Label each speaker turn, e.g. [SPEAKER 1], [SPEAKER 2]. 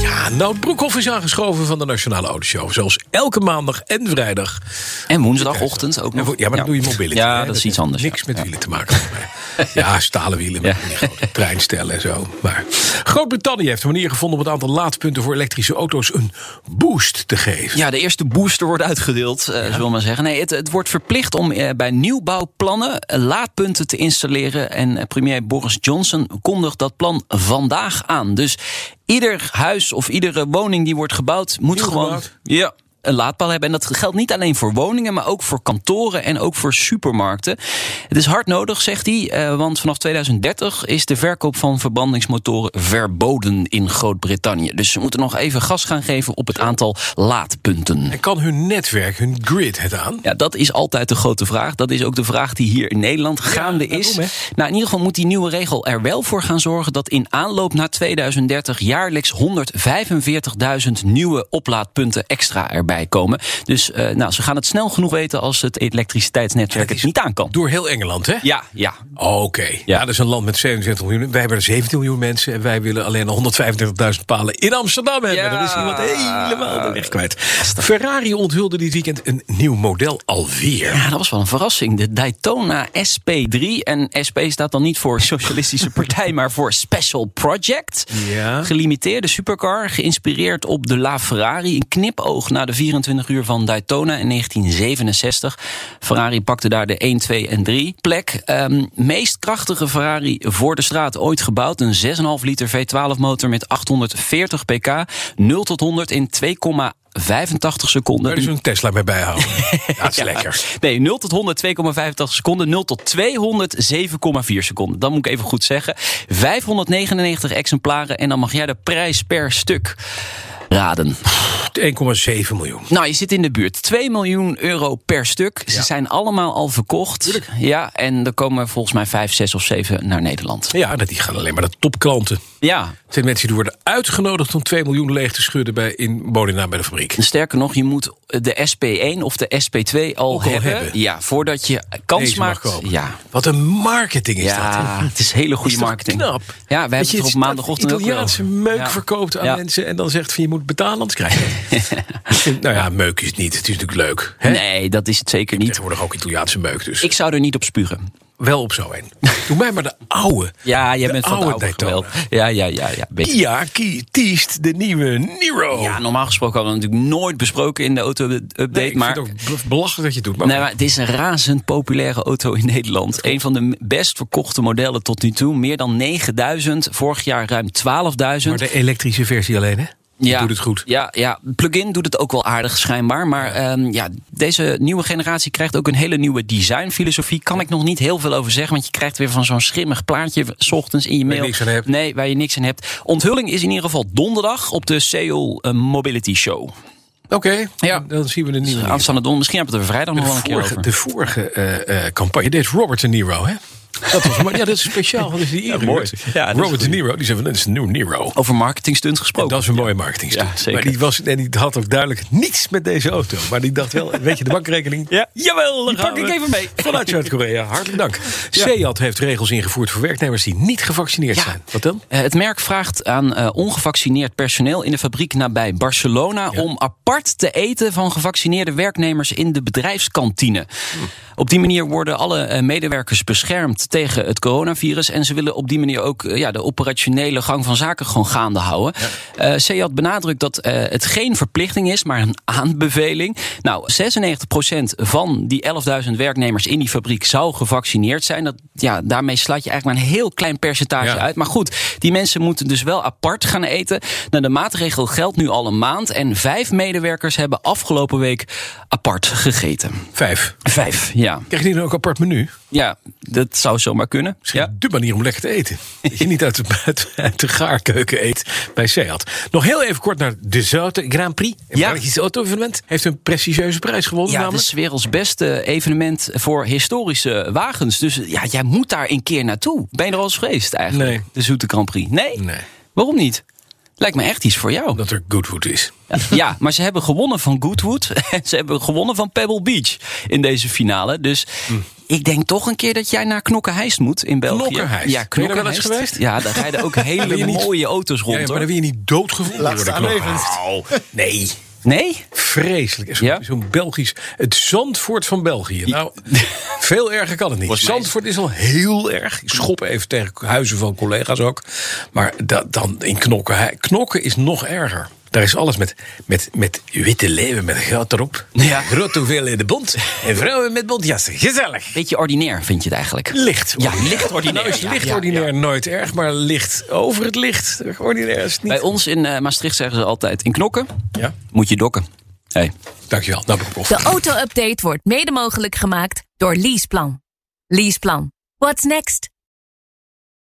[SPEAKER 1] Ja, Nout Ah, nou, Broekhoff is aangeschoven van de Nationale Autoshow. Zoals elke maandag en vrijdag.
[SPEAKER 2] En woensdagochtend ook
[SPEAKER 1] Ja,
[SPEAKER 2] nog.
[SPEAKER 1] maar dat doe je mobility.
[SPEAKER 2] Ja,
[SPEAKER 1] hè?
[SPEAKER 2] dat is iets
[SPEAKER 1] heeft
[SPEAKER 2] anders,
[SPEAKER 1] Niks
[SPEAKER 2] ja.
[SPEAKER 1] met
[SPEAKER 2] Ja.
[SPEAKER 1] wielen te maken. volgens mij. ja, stalen wielen met
[SPEAKER 2] Ja.
[SPEAKER 1] van die grote treinstellen en zo. Maar Groot-Brittannië heeft een manier gevonden om het aantal laadpunten voor elektrische auto's een boost te geven.
[SPEAKER 2] Ja, de eerste booster wordt uitgedeeld, eh zullen we maar zeggen. Nee, het, het wordt verplicht om eh, bij nieuwbouwplannen eh, laadpunten te installeren. En eh, premier Boris Johnson kondigt dat plan vandaag aan. Dus ieder huis of iedere woning die wordt gebouwd, moet
[SPEAKER 1] Nieuw
[SPEAKER 2] gewoon.
[SPEAKER 1] gebouwd.
[SPEAKER 2] Ja. Een laadpaal hebben. En dat geldt niet alleen voor woningen, maar ook voor kantoren en ook voor supermarkten. Het is hard nodig, zegt hij, eh, want vanaf 2030 is de verkoop van verbrandingsmotoren verboden in Groot-Brittannië. Dus ze moeten nog even gas gaan geven op het aantal laadpunten.
[SPEAKER 1] En kan hun netwerk, hun grid het aan?
[SPEAKER 2] Ja, dat is altijd de grote vraag. Dat is ook de vraag die hier in Nederland gaande
[SPEAKER 1] daarom,
[SPEAKER 2] is.
[SPEAKER 1] hè.
[SPEAKER 2] Nou, in ieder geval moet die nieuwe regel er wel voor gaan zorgen dat in aanloop naar 2030 jaarlijks 145.000 nieuwe oplaadpunten extra erbij komen. Dus eh, nou, ze gaan het snel genoeg weten als het elektriciteitsnetwerk het niet aan kan.
[SPEAKER 1] Door heel Engeland, hè?
[SPEAKER 2] Ja, ja.
[SPEAKER 1] Oh, Oké. Ja, dat is een land met 77 miljoen. Wij hebben er 17 miljoen mensen en wij willen alleen al 135.000 palen in Amsterdam hebben.
[SPEAKER 2] Ja.
[SPEAKER 1] Dan is iemand helemaal de weg kwijt. Ferrari onthulde dit weekend een nieuw model alweer.
[SPEAKER 2] Ja, dat was wel een verrassing. De Daytona SP3. En SP staat dan niet voor Socialistische Partij, maar voor Special Project.
[SPEAKER 1] Ja.
[SPEAKER 2] Gelimiteerde supercar, geïnspireerd op de LaFerrari. Een knipoog na de 24 uur van Daytona in 1967. Ferrari pakte daar de 1, 2 en 3 plek. Ehm, meest krachtige Ferrari voor de straat ooit gebouwd. Een 6,5 liter V12 motor met 840 pk. 0 tot 100 in 2,85 seconden.
[SPEAKER 1] Daar is een Tesla mee bijhouden. Dat is lekker.
[SPEAKER 2] Ah, Nee, 0 tot 100 2,85 seconden. 0 tot 200 7,4 seconden. Dat moet ik even goed zeggen. 599 exemplaren en dan mag jij de prijs per stuk raden.
[SPEAKER 1] 1,7 miljoen.
[SPEAKER 2] Nou, je zit in de buurt. 2 miljoen euro per stuk. Ze zijn allemaal al verkocht. Ja, en er komen volgens mij 5, 6 of 7 naar Nederland.
[SPEAKER 1] Ja, dat- die gaan alleen maar naar topklanten.
[SPEAKER 2] Ja.
[SPEAKER 1] Het zijn mensen die worden uitgenodigd om 2 miljoen leeg te schudden bij, in Bodina bij de fabriek.
[SPEAKER 2] Sterker nog, je moet de SP1 of de SP2 al,
[SPEAKER 1] Ook al
[SPEAKER 2] hebben.
[SPEAKER 1] hebben.
[SPEAKER 2] Ja, voordat je kans
[SPEAKER 1] Deze mag
[SPEAKER 2] maakt.
[SPEAKER 1] kopen.
[SPEAKER 2] Ja,
[SPEAKER 1] Wat een marketing is dat. hè?
[SPEAKER 2] ja, het is hele goede
[SPEAKER 1] Is toch
[SPEAKER 2] marketing.
[SPEAKER 1] Knap.
[SPEAKER 2] Ja, wij hebben het er op maandagochtend ook weer
[SPEAKER 1] Italiaanse
[SPEAKER 2] over.
[SPEAKER 1] meuk
[SPEAKER 2] Ja.
[SPEAKER 1] verkoopt aan
[SPEAKER 2] Ja.
[SPEAKER 1] mensen en dan zegt van je moet betalen, anders krijg je het. Ik vind, nou ja, meuk is het niet. Het is natuurlijk leuk. Hè?
[SPEAKER 2] Nee, dat is het zeker niet.
[SPEAKER 1] Tegenwoordig ook Italiaanse meuk dus.
[SPEAKER 2] Ik zou er niet op spugen.
[SPEAKER 1] Wel op zo een. Doe mij maar de oude.
[SPEAKER 2] Ja, jij
[SPEAKER 1] De
[SPEAKER 2] bent van de
[SPEAKER 1] oude
[SPEAKER 2] oude
[SPEAKER 1] Daytona.
[SPEAKER 2] geweld. Ja, ja, ja. ja beter.
[SPEAKER 1] Kia ki- kiest de nieuwe Niro.
[SPEAKER 2] Ja, normaal gesproken hadden we het natuurlijk nooit besproken in de auto-update.
[SPEAKER 1] Nee, ik
[SPEAKER 2] maar,
[SPEAKER 1] vind het ook belachelijk dat je het doet. Maar
[SPEAKER 2] nee, maar het is een razend populaire auto in Nederland. Een van de best verkochte modellen tot nu toe. Meer dan 9000. Vorig jaar ruim 12.000.
[SPEAKER 1] Maar de elektrische versie alleen, hè? Die doet het goed.
[SPEAKER 2] Ja, ja. plug-in doet het ook wel aardig schijnbaar. Maar ehm, ja, deze nieuwe generatie krijgt ook een hele nieuwe designfilosofie. Kan ik nog niet heel veel over zeggen. Want je krijgt weer van zo'n schimmig plaatje s ochtends in je mail.
[SPEAKER 1] niks aan hebt.
[SPEAKER 2] Nee, waar je niks aan hebt. Onthulling is in ieder geval donderdag op de Seoul eh, Mobility Show.
[SPEAKER 1] Oké,
[SPEAKER 2] Ja.
[SPEAKER 1] dan zien we de nieuwe. Niro.
[SPEAKER 2] Aanstaande donderdag. Misschien hebben we het er vrijdag nog wel een
[SPEAKER 1] De
[SPEAKER 2] keer
[SPEAKER 1] vorige,
[SPEAKER 2] over.
[SPEAKER 1] de vorige eh, eh, campagne deed Robert De Niro, hè? Dat was, maar, ja, dat is speciaal. Dat is die Ieren.
[SPEAKER 2] mooi. Ja, dat is
[SPEAKER 1] Robert De Niro, die zei van, dat is een nieuw Niro.
[SPEAKER 2] Over marketingstunt gesproken.
[SPEAKER 1] Dat is een mooie marketing.
[SPEAKER 2] Ja, zeker.
[SPEAKER 1] Maar die, was, en die had ook duidelijk niets met deze auto. Maar die dacht wel, weet je, de bankrekening.
[SPEAKER 2] Ja. Jawel,
[SPEAKER 1] die
[SPEAKER 2] daar
[SPEAKER 1] pak
[SPEAKER 2] gaan
[SPEAKER 1] ik
[SPEAKER 2] we.
[SPEAKER 1] even mee. Vanuit Zuid-Korea, hartelijk dank. Seat heeft regels ingevoerd voor werknemers die niet gevaccineerd
[SPEAKER 2] Ja.
[SPEAKER 1] zijn. Wat dan?
[SPEAKER 2] Eh, Het merk vraagt aan eh, ongevaccineerd personeel in de fabriek nabij Barcelona om apart te eten van gevaccineerde werknemers in de bedrijfskantine. Op die manier worden alle eh, medewerkers beschermd tegen het coronavirus. En ze willen op die manier ook eh, ja, de operationele gang van zaken gewoon gaande houden. Eh Seat benadrukt dat eh, het geen verplichting is, maar een aanbeveling. Nou, 96% van die 11.000 werknemers in die fabriek zou gevaccineerd zijn. Dat, ja, daarmee sluit je eigenlijk maar een heel klein percentage
[SPEAKER 1] Ja.
[SPEAKER 2] uit. Maar goed, die mensen moeten dus wel apart gaan eten. Nou, de maatregel geldt nu al een maand. En vijf medewerkers hebben afgelopen week apart gegeten.
[SPEAKER 1] Vijf.
[SPEAKER 2] Vijf, ja.
[SPEAKER 1] Krijg je die dan ook een apart menu?
[SPEAKER 2] Ja, dat zou zou zomaar kunnen.
[SPEAKER 1] Ja. De manier om lekker te eten. Dat je niet uit de, uit, uit de gaarkeuken eet bij Seat. Nog heel even kort naar de Zoute Grand Prix. Een
[SPEAKER 2] Ja.
[SPEAKER 1] Belgisch auto-evenement. Heeft een prestigieuze prijs gewonnen
[SPEAKER 2] Ja, dus- het
[SPEAKER 1] namelijk.
[SPEAKER 2] is werelds beste evenement voor historische wagens. Dus ja, jij moet daar een keer naartoe. Ben je er al eens geweest eigenlijk?
[SPEAKER 1] Nee.
[SPEAKER 2] De Zoete Grand Prix. Nee?
[SPEAKER 1] Nee.
[SPEAKER 2] Waarom niet? Lijkt me echt iets voor jou.
[SPEAKER 1] Omdat er Goodwood is.
[SPEAKER 2] Ja, maar ze hebben gewonnen van Goodwood. En ze hebben gewonnen van Pebble Beach in deze finale. Dus
[SPEAKER 1] Hm.
[SPEAKER 2] ik denk toch een keer dat jij naar Knokkenheist moet in België.
[SPEAKER 1] Knokkenheist?
[SPEAKER 2] Ja,
[SPEAKER 1] Ben je daar wel eens
[SPEAKER 2] Knokkenheist.
[SPEAKER 1] geweest?
[SPEAKER 2] Ja, daar rijden ook
[SPEAKER 1] Ben je
[SPEAKER 2] hele
[SPEAKER 1] niet-
[SPEAKER 2] mooie auto's
[SPEAKER 1] Ja,
[SPEAKER 2] rond.
[SPEAKER 1] maar
[SPEAKER 2] hoor.
[SPEAKER 1] dan wil je niet doodgevonden
[SPEAKER 3] Laatste
[SPEAKER 1] worden. Knok.
[SPEAKER 3] aanlevend.
[SPEAKER 1] Au, Nee.
[SPEAKER 2] Nee?
[SPEAKER 1] Vreselijk. Zo-
[SPEAKER 2] Ja?
[SPEAKER 1] Zo'n Belgisch. Het Zandvoort van België. Nou, veel erger kan het niet.
[SPEAKER 2] Volgens mij is-
[SPEAKER 1] Zandvoort is al heel erg. Ik schop even tegen huizen van collega's ook. Maar da- dan in knokken. Hij- Knokken is nog erger. Daar is alles met, met, met witte leeuwen met goud erop.
[SPEAKER 2] Ja.
[SPEAKER 1] Grote hoeveelheden bont. En vrouwen met bontjassen. Gezellig.
[SPEAKER 2] Beetje ordinair vind je het eigenlijk.
[SPEAKER 1] Licht.
[SPEAKER 2] Ja, licht ordinair.
[SPEAKER 1] Nou is
[SPEAKER 2] Ja,
[SPEAKER 1] licht
[SPEAKER 2] ja,
[SPEAKER 1] ordinair nooit erg, maar licht over het licht. Ordinair is het niet.
[SPEAKER 2] Bij ons in eh, Maastricht zeggen ze altijd: in knokken
[SPEAKER 1] Ja,
[SPEAKER 2] moet je dokken. Hey.
[SPEAKER 1] dankjewel. Nou, ben ik op.
[SPEAKER 4] De auto-update wordt mede mogelijk gemaakt door Leaseplan. Leaseplan. What's next?